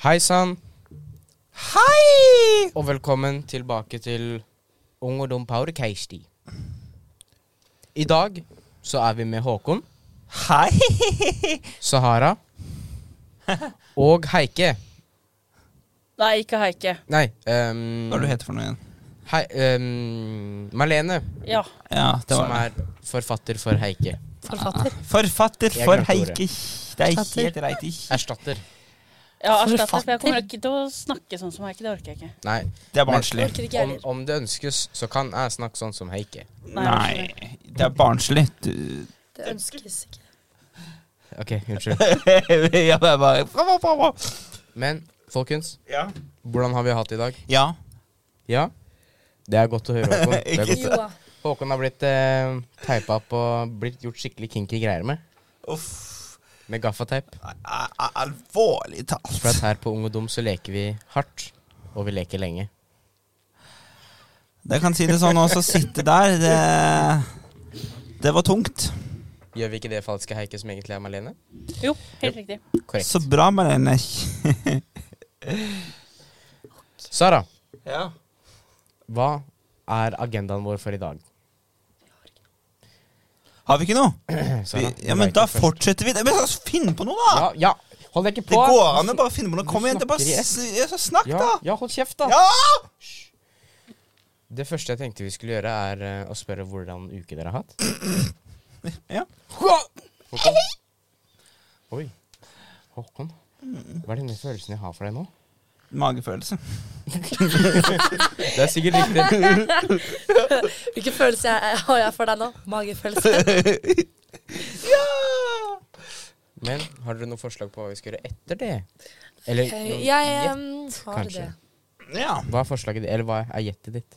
Hei sann. Hei! Og velkommen tilbake til Ung og dum powercasty. I dag så er vi med Håkon, Hei! Sahara og Heike. Nei, ikke Heike. Nei ehm, Hva er det du heter for noe igjen? Hei, ehm, Marlene, Ja, Ja, det som var det. er forfatter for Heike. forfatter. Forfatter Jeg for glemte ordet. Heikich. Det er helt reit. ikk. Erstatter. Ja, erstatter, for Forfatter? jeg kommer ikke til å snakke sånn som Heike. Det orker jeg ikke. Nei, Det er Men- barnslig. Orker ikke jeg om, heller. om det ønskes, så kan jeg snakke sånn som Heike. Nei, Nei, det er barnslig. Du... Det ønskes ikke. Ok, unnskyld. ja, det er bare Men folkens, Ja. hvordan har vi hatt i dag? ja. Ja? Det er godt å høre, Håkon. Det er Ikke godt å... Joa. Håkon har blitt eh, teipa opp og blitt gjort skikkelig kinky greier med. Uff. Med gaffateip. Al- al- Alvorlig For talt. at her på Ung og Dum så leker vi hardt, og vi leker lenge. Jeg kan si det sånn også. Sitte der, det Det var tungt. Gjør vi ikke det falske Heike som egentlig er Marlene? Jo, helt riktig. Korrekt. Så bra, Marlene. Sara, Ja. hva er agendaen vår for i dag? Har vi ikke noe? Vi, Sara, ja, du men leker Da først. fortsetter vi. Men så Finn på noe, da! Ja, ja. Hold deg ikke Det på! går an å bare finne på noe. Kom Du igjen, det er bare snakker i ett. s- ja, så snakk, ja, da! ja, hold kjeft, da. Ja! Det første jeg tenkte vi skulle gjøre, er eh, å spørre hvordan uke dere har hatt. Ja. Håkon. Oi. Håkon, hva er denne følelsen jeg har for deg nå? Magefølelse. Det er sikkert riktig. Hvilken følelse jeg, har jeg for deg nå? Magefølelse. Men har dere noe forslag på hva vi skal gjøre etter det? Eller Eh, noen Jeg gjett, em, har kanskje? det. Ja. Hva er forslaget ditt? Eller hva er gjettet ditt?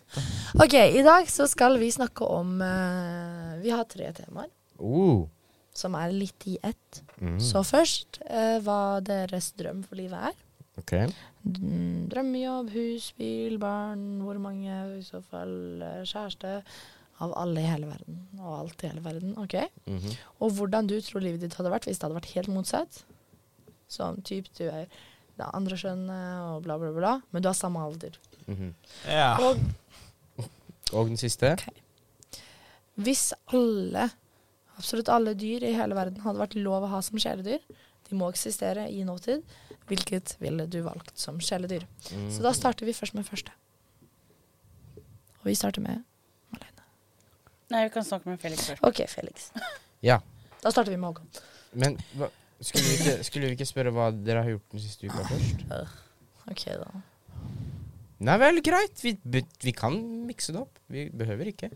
OK, i dag så skal vi snakke om eh, Vi har tre temaer Oh. som er litt i ett. Mm. Så først eh, hva deres drøm for livet er. Ok. Mm, Drømmejobb, hus, bil, barn, hvor mange i så fall, eh, kjæreste. Av alle i hele verden, og alt i hele verden. ok? Mhm. Og hvordan du tror livet ditt hadde vært hvis det hadde vært helt motsatt. Som typ du er det andre kjønnet og bla, bla, bla. Men du har samme alder. Mhm. ja. Og Og den siste? hvis alle, absolutt alle dyr i hele verden hadde vært lov å ha som kjæledyr, de må eksistere i nåtid, hvilket ville du valgt som kjæledyr? Mm. Så da starter vi først med første. Og vi starter med Malene. Nei, vi kan snakke med Felix først. OK, Felix. Ja. Da starter vi med Håkon. Men hva, skulle, vi ikke, skulle vi ikke spørre hva dere har gjort den siste uka først? OK, da. Nei vel, greit. Vi, bu- vi kan mikse det opp. Vi behøver ikke.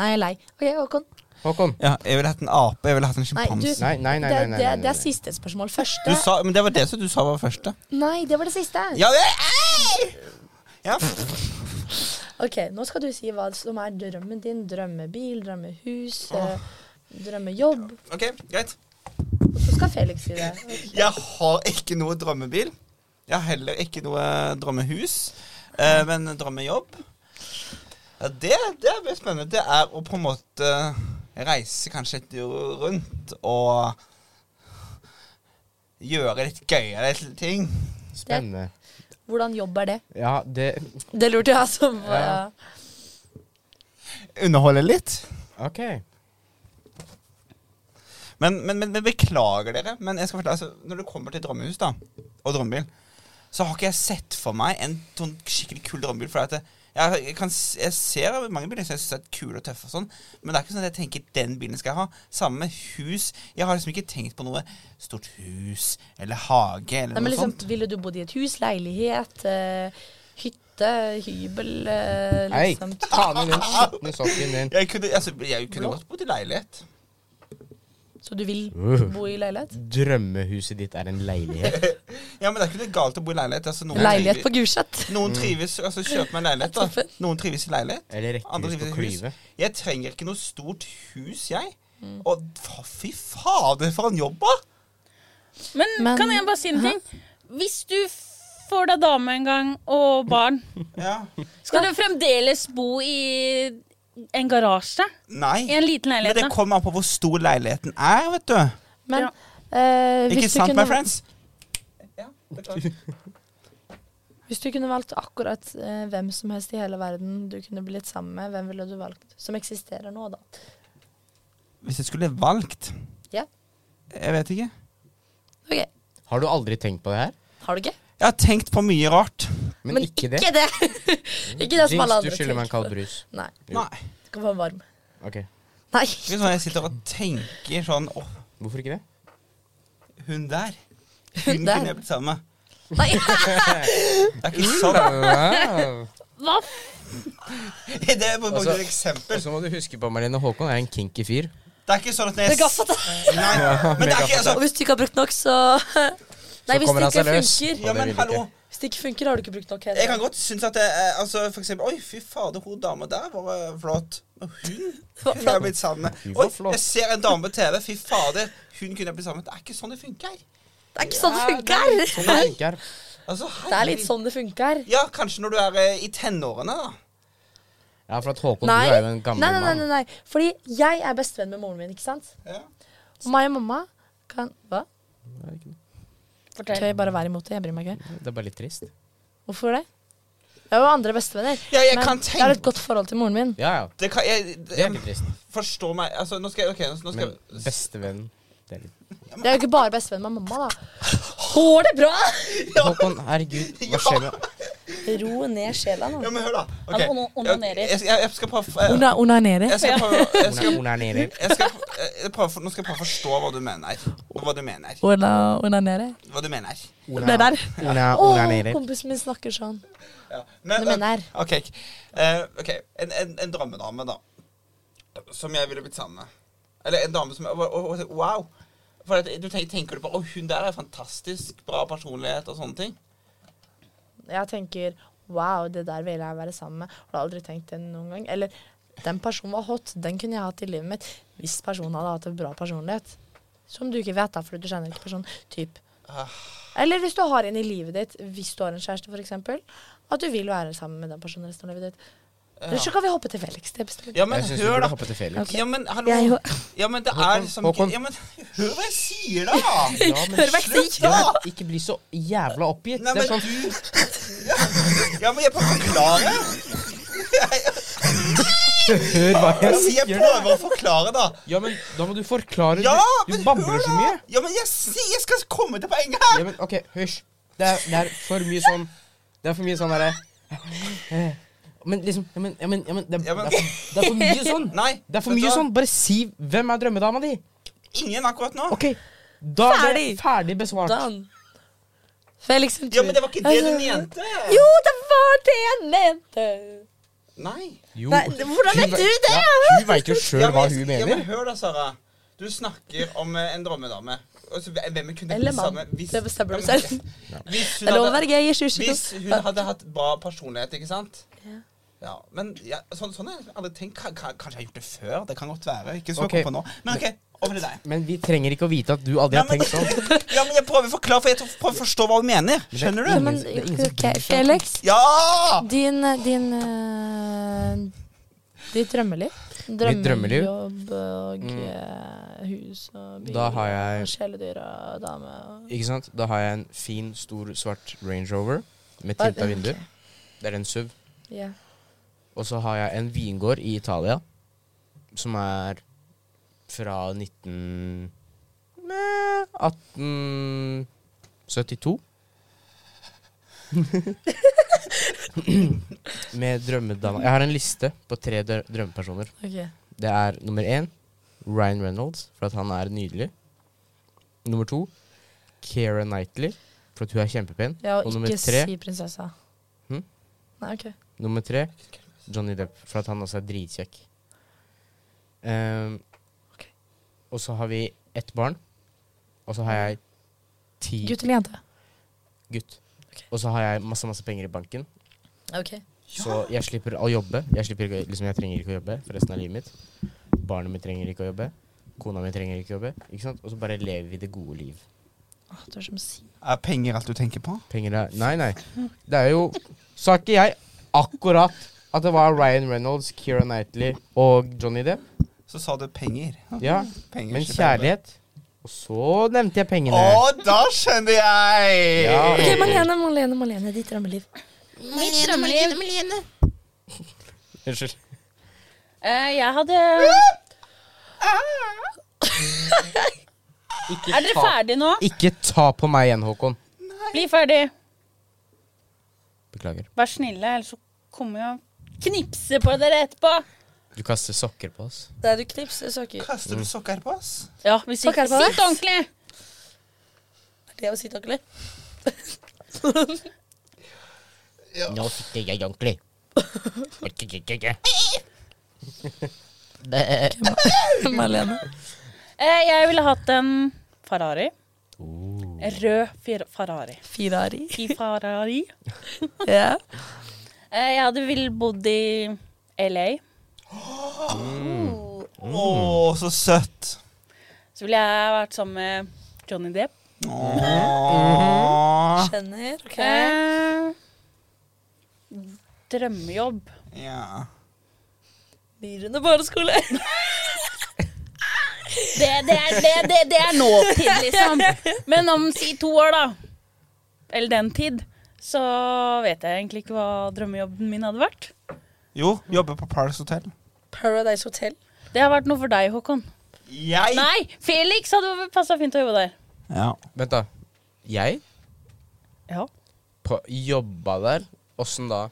Nei, jeg er lei. OK, Håkon. Håkon. ja. Jeg ville hatt en ape. Jeg ville hatt en Nei, du- sjimpanse. Nei, nei, nei. nei, det, er- nei, det, nei, er- det er nei. siste spørsmål. Første. Du sa, men det var det som du sa var første. Nei, det var det siste. Ja, det ja. Ok, nå skal du si hva som er drømmen din. Drømmebil, drømmehus, eh, drømmejobb. Ok, greit. Og så skal Felix si det. Jeg har ikke noe drømmebil. Jeg har heller ikke noe drømmehus, eh, men drømmejobb. Ja, det, det er veldig spennende. Det er å på en måte reise kanskje litt rundt og gjøre litt gøyere ting. Spennende. Hvordan jobb er det? Ja, det Det lurte jeg som Ja. Underholde litt. OK. Men, men, men, men beklager dere, men jeg skal fortelle, altså, når du kommer til drømmehus da, og drømmebil, så har ikke jeg sett for meg en sånn skikkelig kul drømmebil. For at jeg, jeg, kan, s- jeg ser mange biler som jeg syns er kule og tøffe, og sånn, men det er ikke sånn at jeg tenker den bilen skal jeg ha. Samme med hus. Jeg har liksom ikke tenkt på noe stort hus eller hage eller Nei, men noe liksom, sånt. ville du bodd i et hus, leilighet, eh, hytte, hybel? eh, Hei, liksom. ta ned den skitne sokken din. Jeg kunne, altså, jeg kunne godt bodd i leilighet. Så du vil Uh. bo i leilighet? Drømmehuset ditt er en leilighet. Ja, men det er ikke noe galt å bo i leilighet. Altså, noen Leilighet på trives, Gulset? noen trives altså, kjøp meg en leilighet, da. Noen trives i leilighet. Eller rekkehus på Andre livet Klyve. Jeg trenger ikke noe stort hus, jeg. Mm. Og fa- fy fader, for en jobb, da! Men, Men- kan jeg bare si en ting? Hvis du får deg dame en gang, og barn, Ja. skal du fremdeles bo i en garasje? Nei. I en liten Men leilighet? det da? kommer an på hvor stor leiligheten er, vet du. Men Ja. eh, hvis Ikke du sant, my kunne- friends? Ja, beklager. Hvis du kunne valgt akkurat eh, hvem som helst i hele verden du kunne blitt sammen med, hvem ville du valgt? Som eksisterer nå, da. Hvis jeg skulle valgt Ja. Jeg vet ikke. Ok, Har du aldri tenkt på det her? Har du ikke? Jeg har tenkt på mye rart. Men, ikke det. Ikke det, ikke det som alle Jinx, du andre skylder meg en kald tenker. brus. Nei. Jo. Nei. Du kan få en varm. Ok, Nei. Ikke sånn jeg sitter og tenker sånn Å, Hvorfor ikke det? hun der. Hun Hun der. kunne jeg blitt sammen med. Nei. Det er Mm. ikke sånn. Hva f... Det er bare Altså- et eksempel. Og så må du huske på Marlene Håkon er en kinky fyr. Det er ikke sånn at når Du jeg kan få det. Nei, men det er ikke Og altså hvis du ikke har brukt nok, så Nei, hvis kommer det han seg ikke løs. funker. Ja, men det vil hallo. ikke. Hvis det ikke funker, har du ikke brukt nok. Jeg kan godt synes at det er altså, for eksempel Oi, fy fader, hun dama der var eh, flott. Og hun kunne jeg blitt sammen Hun med. var Oi, flott. jeg ser en dame på TV. Fy fader, hun kunne jeg blitt sammen med. Det er ikke sånn det funker. Det er ikke sånn det Ja, er litt funker! Sånn det funker. Altså, Det er litt sånn det funker. Ja, kanskje når du er eh, i tenårene, da. Ja, for at Håkon, Nei. du er jo Nei, en gammel nei, nei, nei, mann. nei. Fordi jeg er bestevenn med moren min, ikke sant? Ja. Og meg og mamma kan Hva? Det er ikke noe. Skal Fortell. jeg bare være imot det? Jeg bryr meg ikke. Det er bare litt trist. Hvorfor det? Jeg er jo andre bestevenner. Ja, jeg men kan jeg har tenke et godt forhold til moren min. Ja, ja. det kan, jeg, Det er ikke trist. Forstå meg altså, Nå skal jeg ok, nå skal Men jeg bestevennen det er litt. Jeg er jo ikke bare bestevenn med mamma, da. Går det bra? Håkon, herregud, hva skjer med Ro ned sjela Ja, nå. men hør, da. Ok. Han ono- onanerer. Jeg, jeg, jeg skal prøve jeg- Ona, onanere. Jeg skal prøve jeg Hun er- skal, Hun er nede. jeg skal, jeg prøver, for- Nå skal jeg prøve å forstå hva du mener. Og hva du mener. Ona, onanere. Hva du mener. Hun Det er- der. hun er- Å, hun er nede. kompisen min snakker sånn. Ja. Men, Det mener jeg. OK. eh, ok, En, en, en drømmedame, da. Som jeg ville blitt sammen med. Eller en dame som og- og- og- Wow! For at, du tenker, tenker du på Å, hun der er fantastisk bra personlighet og sånne ting. Jeg tenker wow, det der ville jeg være sammen med. Har du aldri tenkt det noen gang? Eller den personen var hot, den kunne jeg hatt i livet mitt. Hvis personen hadde hatt en bra personlighet. Som du ikke vet, da, fordi du kjenner ikke personen. Typ. Ah. Eller hvis du har en i livet ditt, hvis du har en kjæreste f.eks., at du vil være sammen med den personen resten av livet ditt. Eller så kan vi hoppe til Felix. Det bestemmer. Ja, men Jeg syns vi hør, burde da. hoppe til Felix. Ok. Ja, men hallo. Jeg jo- Ja, men det er Håkon, som Håkon. Ja, men hør hva jeg sier, da! Ja, men Hør hva jeg Slutt, sier! da! Ja, men ikke bli så jævla oppgitt. Nei, Det er men sånn du Ja, men jeg prøver å forklare. Hør hva jeg Altså, jeg sier. prøver å forklare, da. Ja, men da må du forklare. Ja, Du, du men babler så mye. Ja, men jeg, sier- jeg skal komme til poenget her. Ja, men ok, hysj. Det er, det er for mye sånn Det er for mye sånn derre eh, Men liksom ja, men, ja, men, ja, men, det, er- Ja, men- Det, er for, det er for mye sånn. Nei, Det er for vet du mye hva? sånn. Bare si hvem er drømmedama di. Ingen akkurat nå. Ok, Da er det Ferdig. ferdig besvart. Dan. Sånn. Felix sin tur. Ja, men det var ikke det du Altså, mente. Jo, det var det jeg mente! Nei. Jo. Nei, hvordan Hun vet du ve- det? Ja, hun veit jo sjøl Ja, men- hva hun Ja, men mener. hør da, Sara. Du snakker om eh, en drømmedame. Altså, hvem hvem kunne Eller blitt mann. sammen med hvis- Det bestemmer du Ja, men- selv. Hvis Det er lov hun å hadde, være gay i 2022. hvis hun hadde hatt bra personlighet, ikke sant? Ja. Ja, men ja, sånn, sånn er alle ting. Ka- ka- Kanskje jeg har gjort det før. Det kan godt være. Ikke så Ok. på nå. Men OK, over til deg. Men vi trenger ikke å vite at du aldri Ja, har men- tenkt sånn. Ja, men jeg prøver å forklare, for jeg prøver å forstå hva hun mener. Skjønner Ja, du? men, Det er ingen som sånn. ok, bryr seg. Felix, Ja! din, din eh, Ditt drømmeliv? Mitt drømmeliv? Mm. Jobb og eh, hus og bil Da har jeg- og kjæledyr og dame og Ikke sant? Da har jeg en fin, stor, svart Range Rover med tinta vinduer. Det er en SUV. Ja. Og så har jeg en vingård i Italia som er fra eh, 19... Meh, 1872. Med drømmedama Jeg har en liste på tre drø drømmepersoner. Ok. Det er nummer én Ryan Reynolds, for at han er nydelig. Nummer to Keira Knightley, for at hun er kjempepen. Ja, og og nummer ikke tre, si prinsessa. Hm? Nei, OK. nummer tre Johnny Depp, for at han også er dritkjekk. Ehm, Ok. Og så har vi ett barn. Og så har jeg ti Gutt eller jente? gutt. Ok. Og så har jeg masse masse penger i banken, Ok. så jeg slipper å jobbe. Jeg, slipper ikke, å- liksom, jeg trenger ikke å jobbe for resten av livet mitt. Barnet mitt trenger ikke å jobbe. Kona mi trenger ikke å jobbe. Ikke sant? Og så bare lever vi det gode liv. Åh, du er som si. Er penger alt du tenker på? Penger er Nei, nei. Det er jo Sa ikke jeg akkurat at det var Ryan Reynolds, Keira Knightley og Johnny Depp? Så sa du penger. Ja. Penger, Men ikke penger. kjærlighet Og så nevnte jeg pengene. Å, da skjønner jeg! Ja. Ok, Malene, Malene, Malene, ditt drømmeliv. Mitt drømmeliv Unnskyld. Eh, Jeg hadde Ah! Er dere ferdige nå? Ikke ta på meg igjen, Håkon. Bli ferdig. Beklager. Vær snille, ellers så kommer jeg og knipser på dere etterpå. Du kaster sokker på oss. Der du knipser sokker. Kaster Mm. du sokker på oss? Ja, hvis Takk, ikke er det på deg? Sitt ordentlig! Det å si takle. Nå sitter jeg ordentlig. Malene. Eh, Jeg ville hatt en Ferrari. Rød fir- Ferrari. Firari. I Ferrari. Ja. Eh, Jeg hadde vel bodd i LA. Å, Mm. så søtt. Så ville jeg vært sammen med Johnny Depp. Mm-hmm. Åh. Kjenner. Ok. Eh, drømmejobb. Ja. Dyrene barneskole. Det, det, er, det, det, det er nåtid, liksom. Men om si to år, da, eller den tid, så vet jeg egentlig ikke hva drømmejobben min hadde vært. Jo, jobber på Paris Hotel. Paradise Hotel. Det har vært noe for deg, Håkon. Jeg? Nei, Felix hadde passa fint å jobbe der. Ja. Vent, da. Jeg Ja. på, jobba der. Åssen da?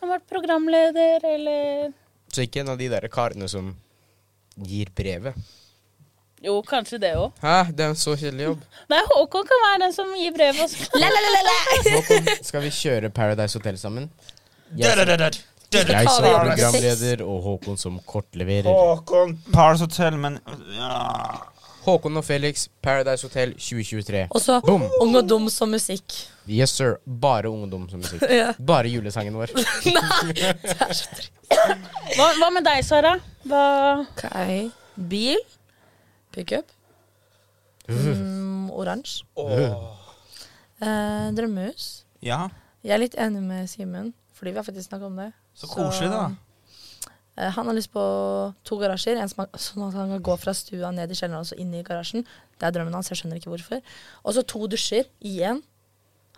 Han har vært programleder, eller Så ikke en av de der karene som gir brevet. Jo, kanskje det òg. Hæ, det er en så kjedelig jobb. Nei, Håkon kan være den som gir brev. Også. Håkon, skal vi kjøre Paradise Hotel sammen? Jeg, Dødødødød. jeg som Paradise. programleder og Håkon som kortleverer. Håkon Paris Hotel, men ja. Håkon og Felix, Paradise Hotel 2023. Og så Boom. Ung og dum som musikk. Yes, sir. Bare ungdom som musikk. Ja. Bare julesangen vår. Hva, hva med deg, Sara? Hva Ok. Bil. Pickup. Mm, Oransje. Eh, drømmehus. ja. Jeg er litt enig med Simen, fordi vi har faktisk snakket om det. Så koselig, da. Eh, Han har lyst på to garasjer, en som har, sånn at han kan gå fra stua ned i kjelleren og så inn i garasjen. Det er drømmen hans, jeg skjønner ikke hvorfor. Og så to dusjer i én,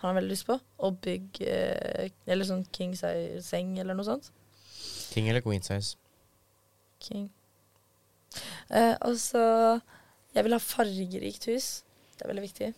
har han veldig lyst på. Og bygg eh, Eller sånn king size seng eller noe sånt. King eller queen size? King. Eh, og så Jeg vil ha fargerikt hus. Det er veldig viktig.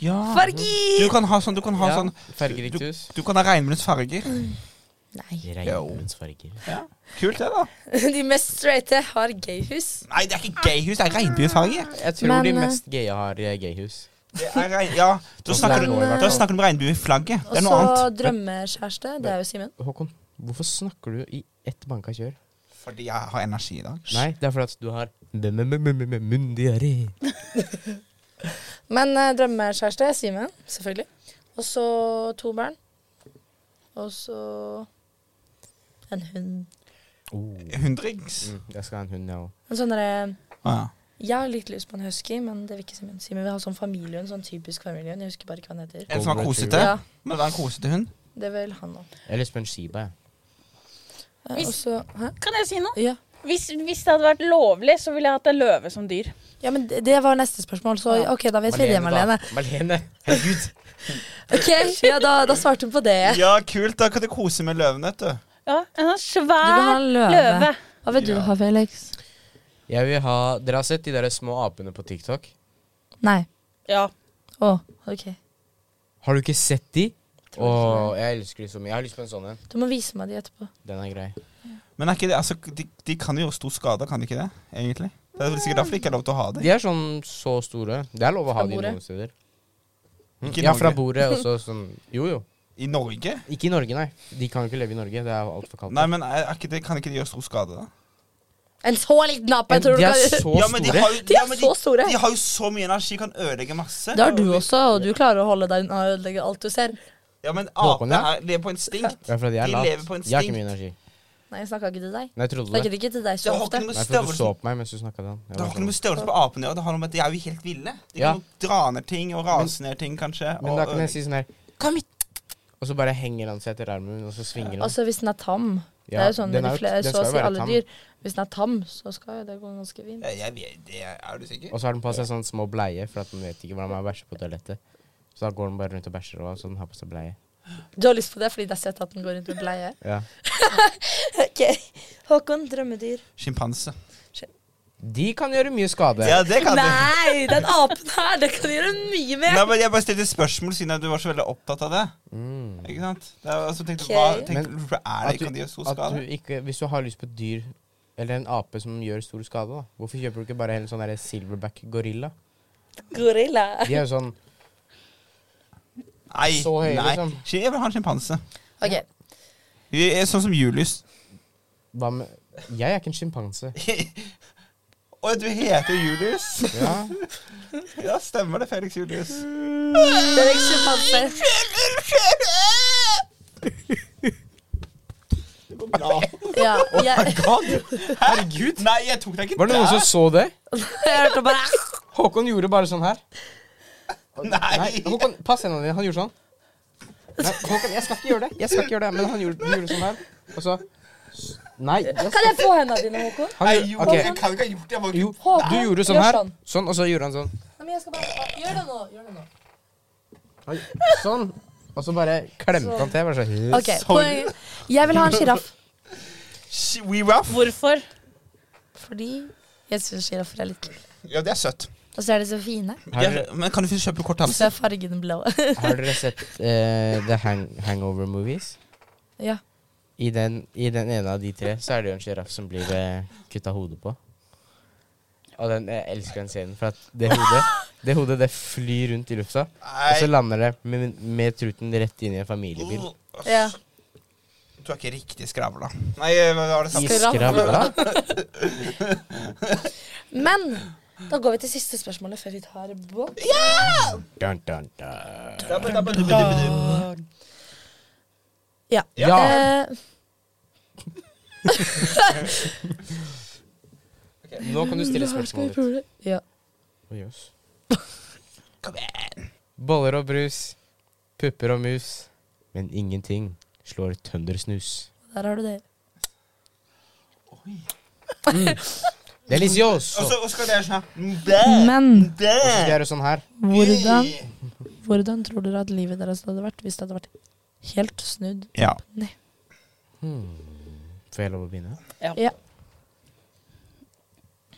Ja. Du Farger! kan ha sånn, du kan ha Ja, sånn Fargerikt hus. Du kan ha regnbuens farger. Nei. Regnbuens farger. Ja. Kult, det, da. De mest straighte har gayhus. Nei, det er ikke gayhus, det er regnbuefarger. Jeg tror Men, de eh, mest gaye har eh, gayhus. Det er regn... Ja, da Sånn snakker, som det er nå, i du, hvert da fall. snakker du om regnbueflagget. Det Og er noe så annet. drømmekjæreste. Det er jo Simen. Håkon, hvorfor snakker du i ett banka kjør? Fordi jeg har energi i dag. Nei, det er fordi at du har mundiaré. Men eh, drømmekjæreste er Simen, selvfølgelig. Og så to barn. Og så en hund. Hundrings. Mm, jeg skal ha en hund, jeg òg. En sånn derre Å, ja. Jeg har litt lyst på en husky, men det vil ikke Simen. Simen vil ha sånn familiehund, sånn typisk familiehund. Jeg husker bare ikke hva den heter. En som er sånn Golden kosete. retriever. Ja, Må det være en kosete hund? det vil han òg. Jeg har lyst på en shiba. jeg. Eh, Og så Hæ? Kan jeg si noe? Ja. Hvis, hvis det hadde vært lovlig, så ville jeg hatt en løve som dyr. ja, men det, det var neste spørsmål, så OK, da vet vi det, Malene. da. Malene. Herregud. Ok, ja, da, da svarte hun på det. Ja, kult. Da kan du kose med løven, vet du. Ja, En sånn Du vil ha svær en løve. løve. Hva vil du Ja. ha, Felix? Jeg vil ha Dere har sett de der små apene på TikTok? Nei. Ja. Å, OK. Har du ikke sett de? Tror Å, ikke jeg elsker de så mye. Jeg har lyst på en sånn en. Du må vise meg de etterpå. Den er grei. Men er ikke det, altså, de, de kan jo gjøre stor skade, kan de ikke det? Egentlig. Det er vel sikkert derfor de ikke er lov til å ha det. De er sånn så store. Det er lov å ha Fra de bordet? noen steder. Ikke i Ja, fra Norge. bordet også sånn Jo, jo. I Norge? Ikke i Norge, nei. De kan jo ikke leve i Norge. Det er altfor kaldt. Nei, men er, er ikke det, kan ikke de gjøre stor skade, da? En så liten ape! Men Jeg de tror er du kan så Ja, men de store. har, jo- De ja, er men så store. De har jo så mye energi, kan ødelegge masse. Det har du også, og du klarer å holde deg unna og ødelegge alt du ser. Ja, men Håkon, ja. aper er- lever på instinkt. Det er fordi jeg er De lat. lever på Jeg har ikke instinkt. mye energi. Nei, jeg snakka ikke til deg. Nei, jeg trodde det. Snakker ikke til deg Det så har ikke ofte. noe med Nei, for du størrelsen så på meg mens du snakka til han. Jeg Det har var ikke noe sånn. med størrelsen på apene å gjøre. Det har noe med at De er jo helt ville. De Ja. kan jo dra ned ting og rase ned ting, kanskje. Men og da kan jeg ødelegge. si sånn her Kom hit! Og så bare henger han seg etter armen min, og så svinger han. Altså, hvis den er tam, det er jo sånn med de flere, så å si alle tam. dyr. Hvis den er tam, så skal jo det gå ganske fint. Jeg, jeg vet det. Er du sikker? Og så har den på seg sånn små bleie, for at den vet ikke hvordan man bæsjer på toalettet. Så da går den bare rundt og bæsjer, og så den har på seg bleie. Du har lyst på det fordi du har sett at den går rundt med bleie? Ja. Ok. Håkon, drømmedyr. Sjimpanse. De kan gjøre mye skade. Ja, det kan du. Nei, den apen her, det kan gjøre mye mer. Nei, men jeg bare stilte spørsmål siden at du var så veldig opptatt av det. Mm. Ikke sant? Det er, altså, tenkte, Ok. hva, tenkte, Men hvorfor er det at du- ikke at de gjør så At du skade? ikke, hvis du har lyst på et dyr eller en ape som gjør stor skade, da. Hvorfor kjøper du ikke bare en sånn der silverback gorilla? Gorilla. De er jo sånn Nei, så høye, nei. liksom. Sk- Jeg vil ha en sjimpanse. Ok, Jeg er Sånn som Julius. Hva med Jeg er ikke en sjimpanse. Å, du heter Julius? Ja. Ja, stemmer det, Felix Julius. det er ikke sjimpanse. Det går bra. Ja, jeg, God. Herregud. Nei, jeg tok deg ikke Var det noen som så det? Jeg hørte bare "Ah!" Håkon gjorde bare sånn her. Nei, Nei. Håkon, pass hendene dine. Han gjorde sånn. Nei, Håkon, jeg skal ikke gjøre det. Jeg skal ikke gjøre det Men han gjorde, du gjorde sånn her. Og så Nei. Jeg Kan jeg få hendene dine, Håkon? han Nei, gjorde, jo, ok. jeg kan ikke ha gjort det. Jeg var jo, ikke du gjorde sånn Gjør her. sånn. Sånn, og så gjorde han sånn. Nei, men jeg skal bare Gjør det nå. Gjør det nå. Oi, Sånn. Og så bare klemte han til. Bare sånn Ok, poeng. Jeg vil ha en sjiraff Sh- We rough. Hvorfor? fordi jeg syns sjiraffer er litt kule. Ja, det er søtt. Og så er de så fine. Har, Jeg, men kan du finne- kjøpe kort Så halse? er fargen blå. har dere sett eh, The hang Hangover Movies? ja. I den, I den ene av de tre så er det jo en sjiraff som blir uh, kutta hodet på. Og den, jeg elsker den scenen, for at det hodet det hodet det flyr rundt i lufta. Og så Nei. lander det med, med truten rett inn i en familiebil. ja. Du er ikke riktig skravla. Nei, eh, hva var det I sant? skravla? Men da går vi til siste spørsmålet før vi tar båt. Dun, dun, dun. Ja. Ja. Eh, Nå kan du stille spørsmålet ditt. ja. Oi, jøss. Kom igjen. Boller og brus, pupper og mus. Men ingenting slår tøndersnus. Der har du det. Delicioso! Og Og så og så skal det sånn her. Bæ, Men bæ. så skal jeg gjøre sånn her. hvordan, hvordan tror dere at livet deres hadde vært hvis det hadde vært helt snudd? Ja. Får jeg lov å begynne? Ja. Ja.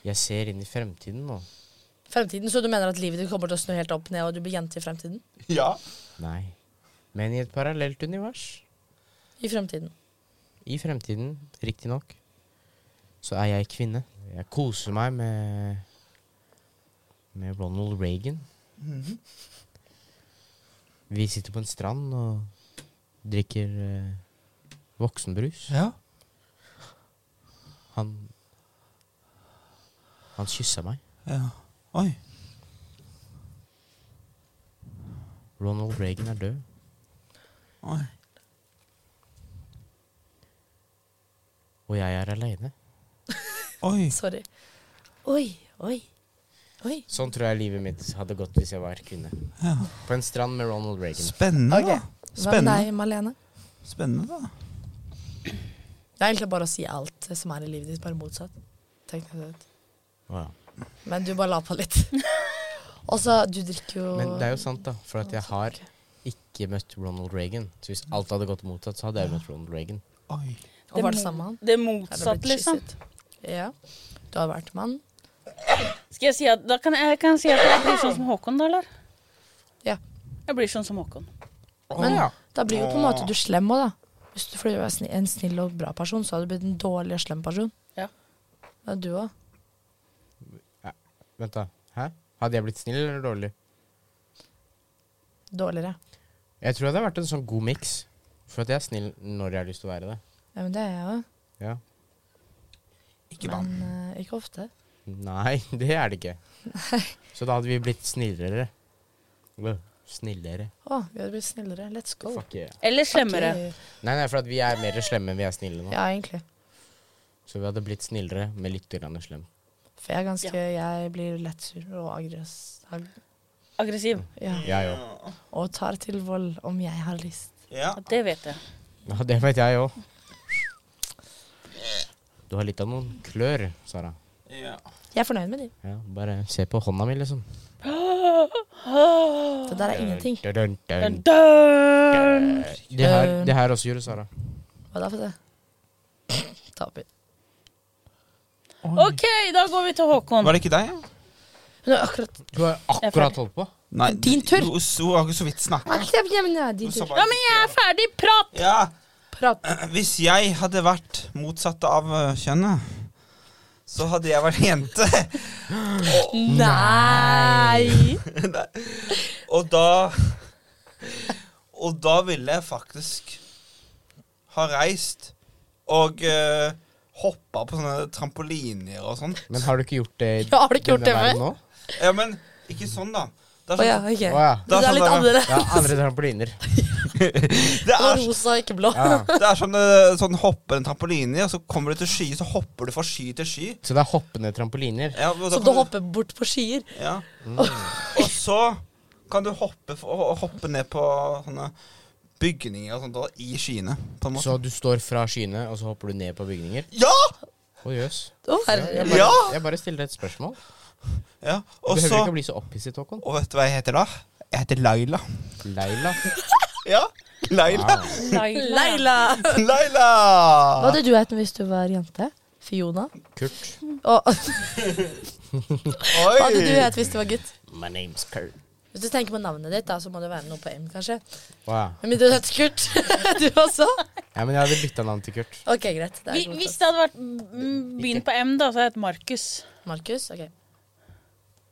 Jeg ser inn i fremtiden nå. Fremtiden, Så du mener at livet ditt kommer til å snu helt opp ned, og du blir jente i fremtiden? Ja. Nei. Men i et parallelt univers. I fremtiden. I fremtiden, riktignok, så er jeg kvinne. Jeg koser meg med med Ronald Reagan. Mhm. Vi sitter på en strand og drikker eh, voksenbrus. ja. Han Han kyssa meg. Ja. Oi. Ronald Reagan er død. Oi. Og jeg er aleine. Oi. Sorry. Oi, oi, oi. Sånn tror jeg livet mitt hadde gått hvis jeg var kvinne. Ja. På en strand med Ronald Reagan. Spennende, Ok. da. Hva med Spennende. deg, Malene? Spennende, da. Det er egentlig bare å si alt som er i livet ditt, bare motsatt. Tenk deg det. Wow. Men du bare la på litt. Og så, du drikker jo Men det er jo sant, da. For at jeg har ikke møtt Ronald Reagan. Så hvis alt hadde gått motsatt, så hadde jeg jo møtt Ronald Reagan. Oi. Og var det sammen med han? Det Er det motsatte, blitt liksom. kysset? Ja. Du har vært med han? Skal jeg si at, da kan jeg, kan jeg si at jeg blir sånn som Håkon, da, eller? Ja. Jeg blir sånn som Håkon. Men ja. da blir jo på en måte du slem òg, da. Hvis du fordi du er sni- en snill og bra person, så hadde du blitt en dårlig og slem person. Ja. Ja, du òg. Vent, da. Hæ? Hadde jeg blitt snill eller dårlig? Dårligere. Jeg tror det hadde vært en sånn god miks. For at jeg er snill når jeg har lyst til å være det. Ja, men det er jeg òg. Ja. Ikke Men vann. eh, ikke ofte. Nei, det er det ikke. Så da hadde vi blitt snillere. Bø, Snillere. Å, vi hadde blitt snillere. Let's go. Fuck yeah. Eller slemmere. Ok. Nei, nei, for at vi er mer slemme enn vi er snille nå. Ja, egentlig. Så vi hadde blitt snillere med litt grann slem. For jeg er ganske Jeg blir lett sur og aggressiv. Aggressiv. Ja. Jeg òg. Og tar til vold om jeg har lyst. Ja. Ja, Det vet jeg. Ja, det vet jeg òg. Du har litt av noen klør, Sara. Ja. Jeg er fornøyd med de. Ja, bare se på hånda mi, liksom. Det der er ingenting. Dun, dun, dun, Dun, dun. dun. Det her, Um. det her også gjorde Sara. Hva da, få se. Taper. OK, da går vi til Håkon. Var det ikke deg? ja? Hun har akkurat Du har akkurat holdt på. Nei, Din tur. Hun hun har ikke så vidt snakka. Din tur. Ja, men jeg er ferdig. Prat! Ja, Prat. hvis jeg hadde vært motsatt av eh, kjønnet, så hadde jeg vært jente. Nei! Og da Og da ville jeg faktisk ha reist og uh, hoppa på sånne trampoliner og sånn. Men har du ikke gjort det Ja, har du ikke gjort denne det veien før? nå? Ja, men ikke sånn, da. Det Å er, ja, sånn, Å ok. ja. Det er Det er litt sånn annerledes. ja. Andre trampoliner. det Det var er, rosa, ikke blå. Ja. det er sånn, eh, sånn hopper en trampoline, og så kommer du til sky, så hopper du fra sky til sky. Så det er hoppende trampoliner. Ja, og da Så kan du hopper Mm. bort på skyer. Ja. Og så kan du hoppe, f- og- og hoppe ned på sånne bygninger og sånt da, i skyene, på en måte. Så du står fra skyene, og så hopper du ned på bygninger? Ja! Å jøss. Å, Ja, jeg, herre. bare- Ja! jeg bare stiller et spørsmål. ja. Du Og behøver så ikke å bli så opphisset, Håkon. Og vet du hva jeg heter da? Jeg heter Laila. Leila. Ja, Laila. Ah. Leila. Leila! Hva Laila! hadde du hett hvis du var jente? Fiona? Kurt. Og hva Oi! hadde du hett hvis du var gutt? My name's Kurt. Hvis du tenker på navnet ditt, da, så må det være noe på M, kanskje. Wow. Men mindre du heter Kurt. Du også? Ja, men jeg hadde bytta navn til Kurt. OK, greit. Det Vi- er Hvis godt. det hadde vært mm, begynt på M, da, så hadde jeg hett Markus. Markus? OK.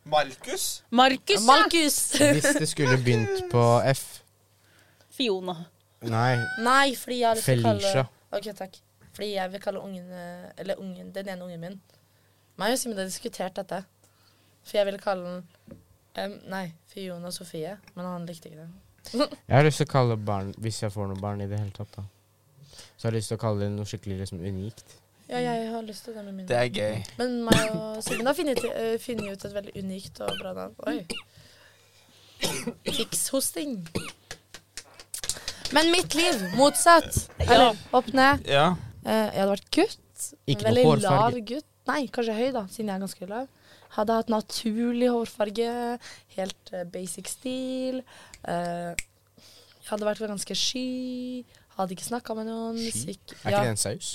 Markus? Markus, ja. Markus! Hvis det skulle begynt på F Fiona. Nei, Nei, fordi jeg har lyst til å kalle Felicia. OK, takk. Fordi jeg vil kalle ungen eh, Eller ungen, den ene ungen min Meg og Simen har diskutert dette. For jeg ville kalle den em, Nei, Fiona Sofie. Men han likte ikke det. Jeg har lyst til å kalle barn Hvis jeg får noen barn i det hele tatt, da. Så har jeg lyst til å kalle det noe skikkelig liksom, unikt. Ja, jeg har lyst til det med min. Mm. Det er gøy. Men meg og Simen har funnet, eh, funnet ut et veldig unikt og bra navn. Oi. Fikshosting. Men mitt liv, motsatt. Eller opp ned. Ja. Eh, jeg hadde vært gutt. Ikke noe veldig lav hårfarge. gutt. Nei, kanskje høy, da, siden jeg er ganske lav. Hadde hatt naturlig hårfarge, helt eh, basic stil. Eh, jeg hadde vært ganske sky. Hadde ikke snakka med noen. Sky? Er Sikk- ikke Ja. det en saus?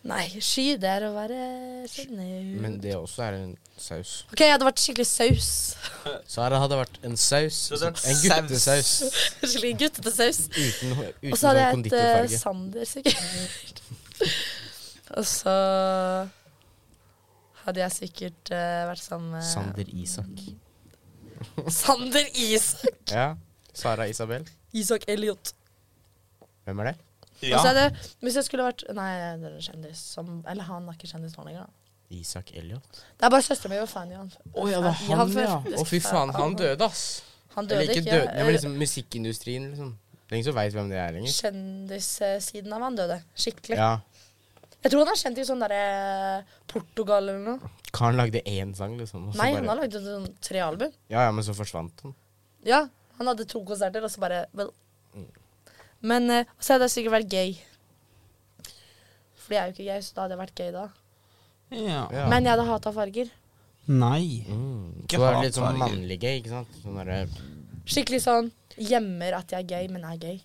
Nei, sky det er å være sjenert. Men det også er en saus. OK, jeg hadde vært skikkelig saus. Sara hadde vært en saus. Så det er En guttesaus. skikkelig guttete saus. Uten, hår- uten Og så sånn hadde jeg hett eh, konditorfarge. Sander, sikkert. Og så hadde jeg sikkert eh, vært sammen med Sander Isak. Sander Isak. Ja. Sara Isabel. Isak Elliot. Hvem er det? Og så ja. hadde jeg- Hvis jeg skulle vært Nei, det er en kjendis som Eller han er ikke kjendis nå lenger, da. Isak Elliot. Det er bare søstera mi som var fan i Å han. ja, det er han, ja. Å, fy faen, han døde, ass. Han døde Eller ikke ikke. døde, ja, men liksom musikkindustrien, liksom. Det er ingen som veit hvem det er lenger. eh, Kjendissiden av han døde. Skikkelig. Ja. Jeg tror han er kjent i sånn derre Portugal eller noe. Karen lagde én sang, liksom. og så Nei, bare- han har lagd sånn tre album. Ja, ja, men så forsvant han. Ja, han hadde to konserter, og så bare vel. Men eh, så hadde jeg sikkert vært gay. For jeg er jo ikke gay, så da hadde jeg vært gay da. ja. Ja. Men jeg hadde hata farger. Nei. Mm. Ikke Så er det hat, litt sånn farger. mannlig gay, ikke sant? Sånn derre Skikkelig sånn gjemmer at jeg er gay, men er gay.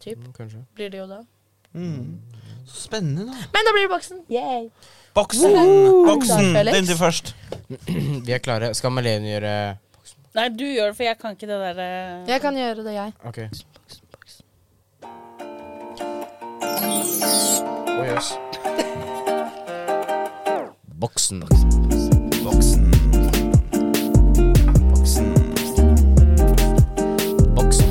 Typ. mm, Kanskje. Blir det jo da. Mm. Så spennende, da. Men da blir det boksen. Yay. Boksen! Boksen! Klar, Felix. Den til først. Vi er klare. Skal Malene gjøre Nei, du gjør det, for jeg kan ikke det eh, derre Jeg kan gjøre det, jeg. OK. Å jøss. Boksen. Boksen. Boksen. Boksen. Boksen. Boksen.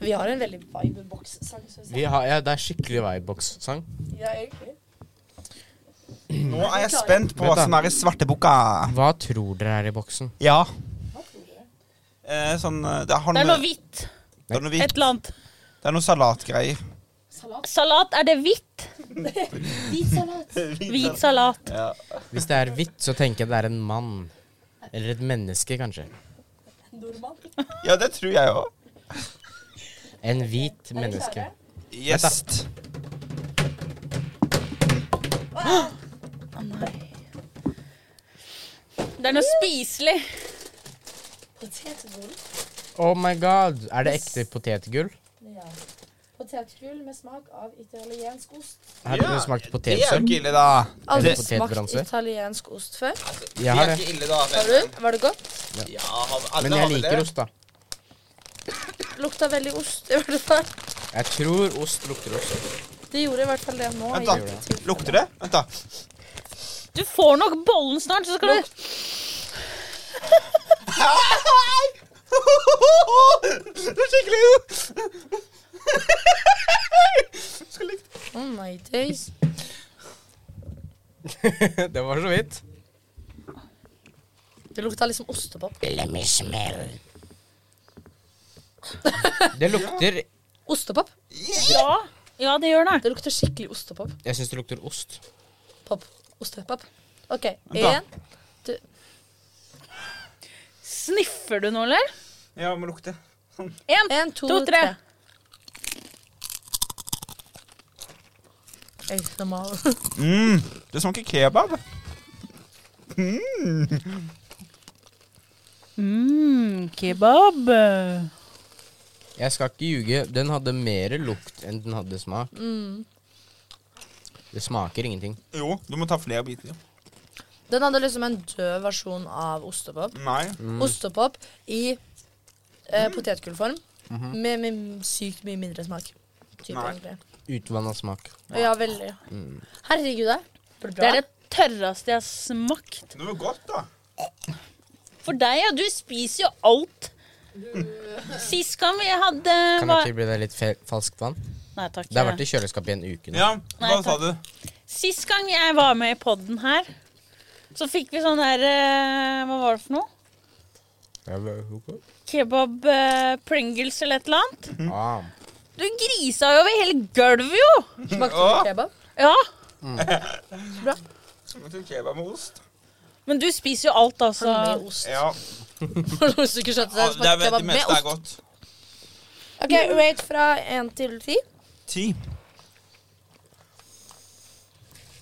Vi har en veldig vibe boks-sang, syns jeg. Vi har, ja, det er skikkelig veiboks-sang. Ja, egentlig. Nå er jeg spent på Vent da. hva som er i svarteboka. Hva tror dere er i boksen? Ja. Eh, sånn eh, Det har Det noe, er noe hvitt. det er noe Et hvit. eller annet. Det er noe salatgreier. Salat, er det hvitt? Hvit salat. Hvit salat. Ja. Hvis det er hvitt, så tenker jeg det er en mann. Eller et menneske, kanskje. Nordmann. Ja, det tror jeg òg. En hvit menneske. Gjest. Det er noe spiselig. Potetgull. Oh my god. Er det ekte potetgull? Ja. Potetgull med smak av italiensk ost. Har du Ja, smakt Det er jo potetsøl? ikke ille, da. Aldri Det- smakt Potetbransje? italiensk ost før. Jeg har det. det. er ikke ille, da. Har du? Var det godt? Ja, har- alle Men har jeg vel liker det. ost, da. Lukta veldig ost, i hvert fall. Jeg tror ost lukter ost. Det gjorde i hvert fall det nå. Vent, i da. dette tilfellet. Lukter det? Vent, da. Du får nok bollen snart, så skal du Det er skikkelig Så likt. Oh my days. det var så vidt. Det lukta liksom ostepop. Det lukter Ostepop? Ja, ja det gjør det. Det lukter skikkelig ostepop. Jeg syns det lukter ost. Pop. Ostepop. OK. da. Én Sniffer du nå, eller? Ja, må lukte. Én, En, to, to, tre. tre. ASMR. Mm, det smaker kebab. Mm, kebab. Jeg skal ikke ljuge. Den hadde mer lukt enn den hadde smak. Det smaker ingenting. Jo, du må ta flere biter. Den hadde liksom en død versjon av ostepop. Nei. Ostepop i eh, potetgullform. med, med sykt mye mindre smak. Typ, Mhm. Nei. Mm. egentlig. Utvanna smak. Ja, veldig. Herregud, det er Det bra. er det tørreste jeg har smakt. Det var godt, da. For deg, ja. Du spiser jo alt. Sist gang vi hadde Kan var- jeg tilby deg litt fe falskt vann? Nei takk. Det har vært i kjøleskapet i en uke nå. Ja, Nei, hva takk. sa du? Sist gang jeg var med i podden her, så fikk vi sånn her eh, Hva var det for noe? Kebab eh, Pringles eller et eller annet. Ah. Du grisa jo over hele gulvet, jo! Smakte Åh. det kebab? Ja. Smakte kebab med ost. Men du spiser jo alt, altså. Med ost. Ja, Hvis du ikke skjønte ja det, det, smakte er, kebab det med meste er ost. godt. OK, rate fra én til ti. Ti.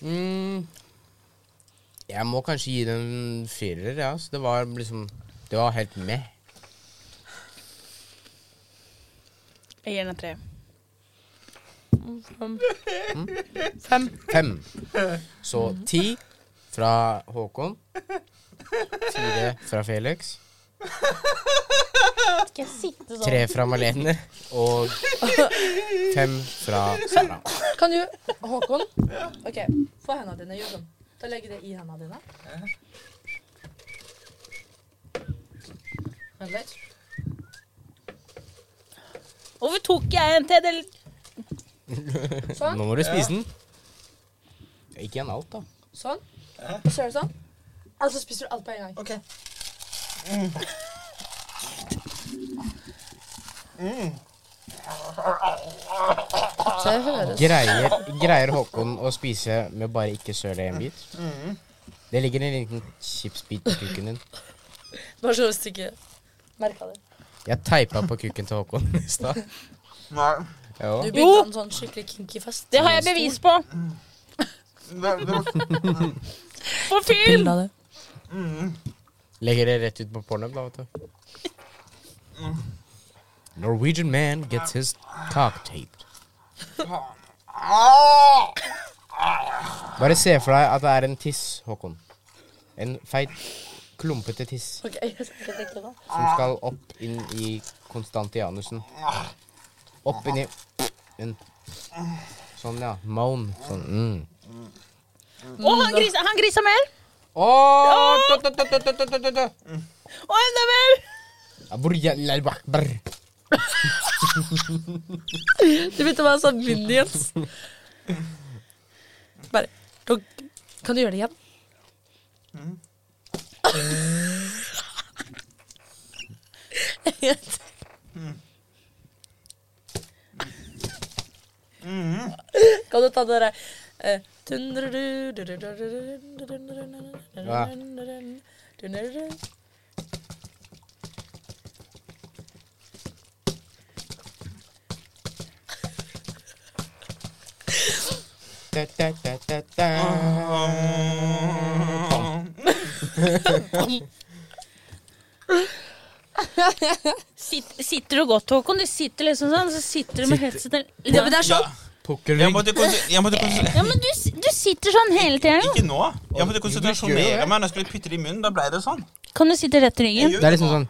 Mm. Jeg må kanskje gi den en firer, ja. Så det var liksom Det var helt med. Jeg gir den en tre. Fem. Fem. Så ti fra Håkon. Fire fra Felix. Skal jeg sitte sånn? Tre fra Malene. Og fem fra Sara. Kan du Håkon? OK, få hendene dine. Gjør sånn. Da legger jeg det i hendene dine. Vent litt. Hvorfor tok jeg en til? Sånn. Nå må du spise den. Ikke en alt, da. Sånn. Og så gjør du sånn. Altså spiser du alt på en gang. Ok. Så jeg høres. Greier, greier Håkon å spise med bare ikke søle en bit? Det ligger en liten chipsbit på kukken din. Bare så hvis du ikke merka det. Jeg teipa på kukken til Håkon i stad. Nei. Jo. Du Jo. bygde en sånn skikkelig kinky fest. Det har jeg bevis på. Det, det, På film! av det. Legger det rett ut på porno, da, vet du. Norwegian man gets his cock taped. ah! Bare se for deg at det er en tiss, Håkon. En feit, klumpete tiss OK, jeg skal ikke tenke på det. som skal opp inn i Konstantianusen. Opp inn i en. Sånn, ja. Moan. Sånn. Mm. Å, han grisa, han grisa mer! Åh, tut, tut, tut, tut, tut, tut, tut. Og enda mer! Abur, ja, lalba, brr. Du begynte å være sånn minions. Bare dog. Kan du gjøre det igjen? Kan du ta det derre eh, Ja. Sitt, sitter du godt, Håkon? Du sitter liksom sånn, så sitter du med Sitter- headsetet Ja, men det er Ja, sånn. jeg Pukkelrygg. måtte, konse- jeg måtte konse- Ja, men du, s- du sitter sånn hele tiden. Ikke nå. Jeg måtte konsentrasjonere meg. Når jeg skulle putte det i munnen, da ble det sånn. Kan du sitte rett i Jeg ryggen? gjør Det er liksom sånn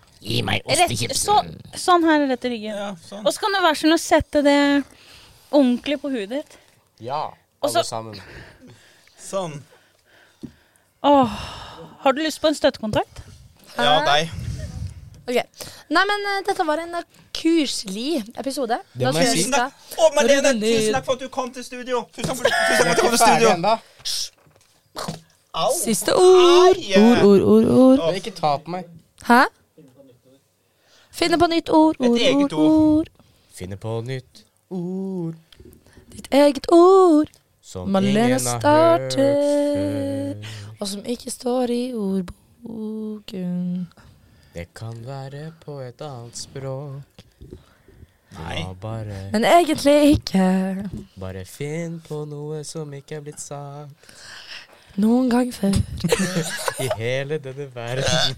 Rett, så, sånn her rett i ryggen. Ja, sånn. Og så kan du være sånn å sette det ordentlig på huet ditt. Ja, Og så- alle sammen. sånn. Åh, har du lyst på en støttekontakt? Ja, deg. Ok. Nei, men eh, dette var en eh, kurslig episode. Det Da må jeg tror vi si. skal- Å, Marlene, Når du tusen ned- takk for at du kom til studio. Tusen takk for, tusen takk for Jeg at er du kom ikke til studio. ferdig ennå. Au. Siste ord. Ai, eh. Ord, ord, ord, ord. Men Ikke ta på meg. Hæ? Finne på nytt ord, Et ord, eget ord, ord. ord. Finne på nytt ord Ditt eget ord. som Malene ingen har hørt starter. før. Og som ikke står i ordboken. Det kan være på et annet språk. Nei. Ja, bare, Men egentlig ikke. bare finn på noe som ikke er blitt sagt Noen gang før. i hele denne verden.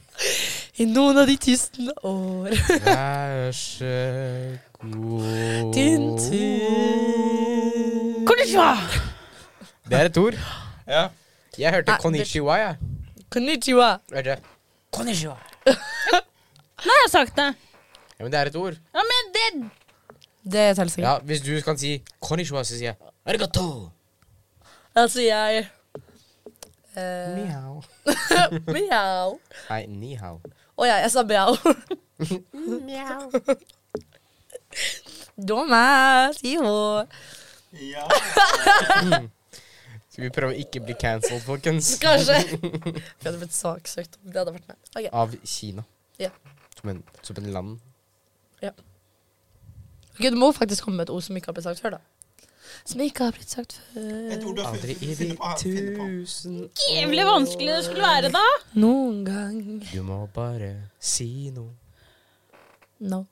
I noen av de tusen år. Vær så god Din tur. Konnichiwa! Det er et ord. Ja. Jeg hørte Ah, konnichiwa, jeg. Konnichiwa. Hørte jeg. Nå har jeg sagt det. Ja, men det er et ord. Ja, men det Det teller sikkert. Ja, Hvis du kan si konnichiwa, så sier jeg arigato. Altså, jeg Eh, Miau. Mjau. Nei, nihao. Å ja, jeg sa mjau. Dumbass. Jo. ja. Skal vi prøve å ikke bli cancelled, folkens? Kanskje. Vi hadde blitt saksøkt om det hadde vært meg. Ok, Av Kina. Ja. Som en, som en land. Ok, Du må faktisk komme med et ord som ikke har blitt sagt før, da. Som ikke har blitt sagt Jeg tror før. du har Aldri funnet i de finne på- finne på. tusen er jævlig vanskelig det skulle være da. Noen gang. Du må bare si noe. No.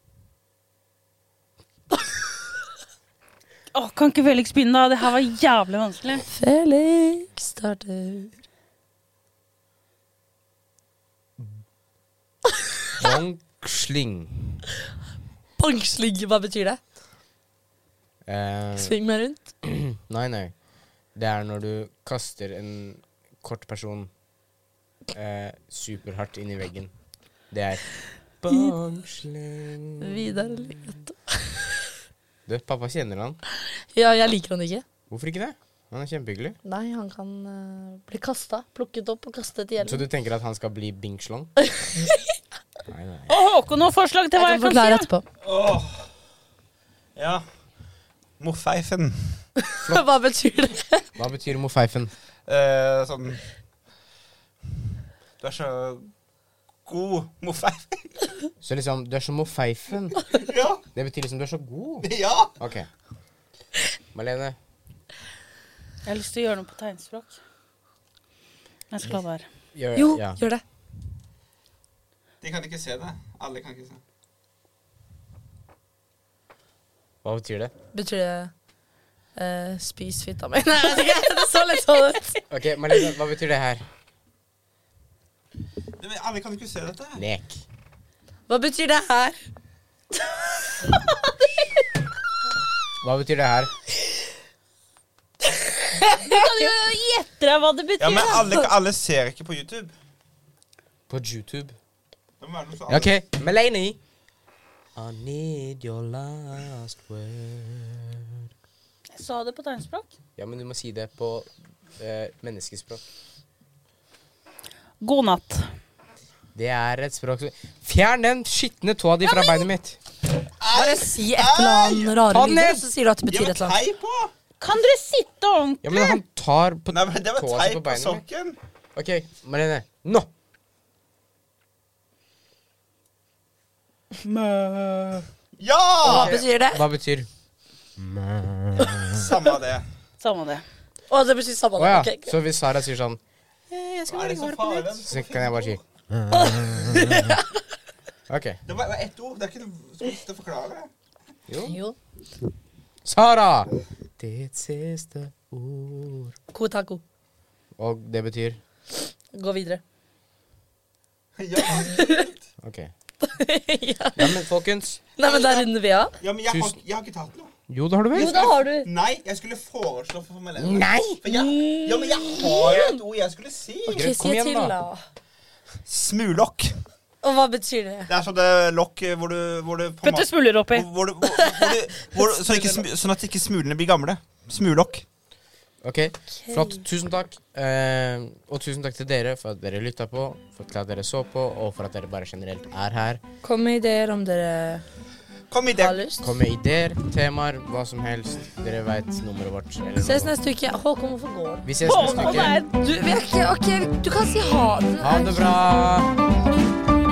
Åh, kan ikke Felix begynne da? Det her var jævlig vanskelig. Felix starter Bongsling. Bangsling, hva betyr det? Eh, Sving meg rundt. nei, nei. Det er når du kaster en kort person eh, superhardt inn i veggen. Det er bongsling. Vidar Løte. Du, pappa kjenner han. Ja, jeg liker han ikke. Hvorfor ikke det? Han er kjempehyggelig. Nei, han kan eh, bli kasta. Plukket opp og kastet Så i hjelmen. du tenker at han skal bli bingslong? Nei, nei. Og Håkon noen forslag til hva Jeg jeg kan kan forklare si? da? etterpå. Åh. Ja. Morfeifen. Hva betyr det? Hva betyr mofeifen? Eh, sånn Du er så god, morfeifen. Så liksom, du er så mofeifen. Ja. Det betyr liksom du er så god. ja. Ok. Malene, Jeg har lyst til å gjøre noe på tegnspråk. Jeg skal la det være. gjør Jo, ja. gjør det. De kan ikke se det. Alle kan ikke se. Hva betyr det? Betyr det eh, spis fitta mi? Nei, jeg vet ikke. det så litt sånn ut. Ok, Malene, hva betyr det her? Nei, men alle kan ikke se dette. Lek. Hva betyr det her? Hva betyr det her? Kan du gjette deg Øh, hva det betyr? Ja, men alle, alle ser ikke på YouTube. På YouTube. Det må være noe for alle. Ok, Malene. I need your last word. Jeg sa det på tegnspråk. Ja, men du må si det på eh, menneskespråk. God natt. Det er et språk som Fjern den skitne tåa di fra beinet mitt. Bare si et eller annet rare Ta den lyder, ned! så sier du at det Det betyr var et eller annet. tei på! Kan dere sitte ordentlig? Ja, men han tar på Nei, men det var tåa tei si på på beinet mitt. sokken. Ok, Malene. Nå! Ja! Hva betyr det? Hva betyr Samme det. Samme det. Å, det betyr samme. Å ja. Ok, greit. Så hvis Sara sier sånn, Hva er det så farlig? så kan jeg bare si OK. Det var var ett ord. Det er ikke noe som helst å forklare. Jo. Jo. Sara! Ditt siste ord. Kotako. Og det betyr Gå videre. Ja, OK. ja. Ja, men folkens. Nei, men der runder vi av. ja men jeg har, Tusen- jeg har ikke tatt noe. Jo, det har du Jo, vel? da har du. Nei, jeg skulle foreslå for Malene. Nei! For jeg, ja, men jeg har jo et ord jeg skulle si. Greit, kom igjen, da. Smulokk. Og hva betyr det? Det er sånne lokk eh, hvor du, hvor du på en Putt måte- smuler oppi. hvor, hvor, du- hvor, hvor, du- hvor, du- sånn, ikke, smu- sånn at ikke smulene blir gamle. Smulokk. Ok, flott. Tusen takk. Eh, og tusen takk til dere for at dere lytta på, for at dere så på, og for at dere bare generelt er her. Kom med ideer om dere Kom i det. har lyst. Kom med ideer, temaer, hva som helst. Dere veit nummeret vårt. eller Ses noe. neste uke. Håkon, hvorfor går du? Vi ses neste uke. nei. Du, vi er ikke, ok, du kan si ha det. Ha det bra.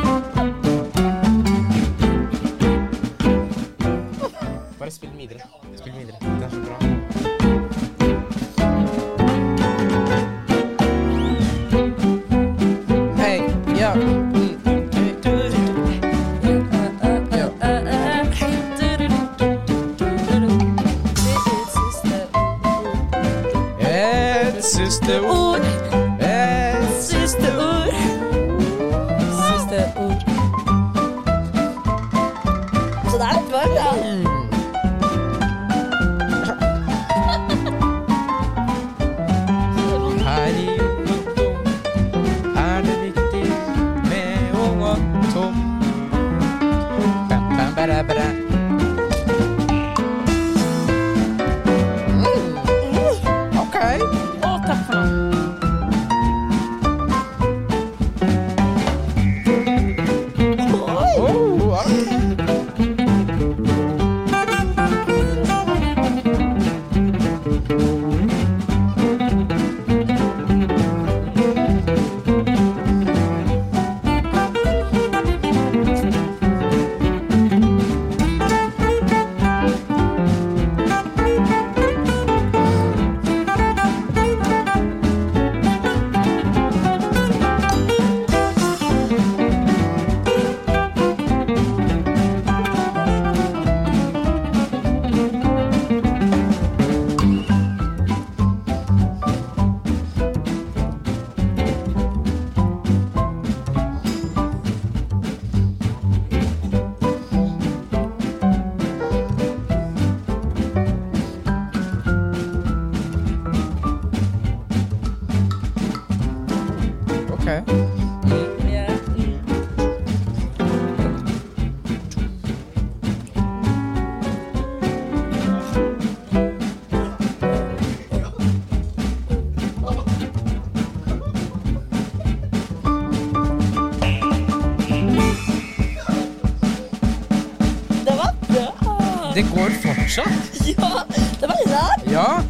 Bare spill den videre. Spill den videre. Det er så bra. Hei, ja. Et siste ord. Ord, Et siste ord. Siste ord. Så der var det. Her i Lotto er det viktig med ung og tom. Bam, bam, bada, bada. Mm. Ok. Å, takk for nå. Oh, ok. Okay. Det var bra. Det går fortsatt? Ja, det var rart. Ja.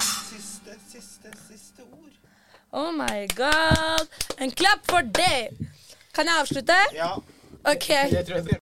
Siste, siste, siste ord. Oh my eh? god. En klapp for det! Kan jeg avslutte? Ja. OK.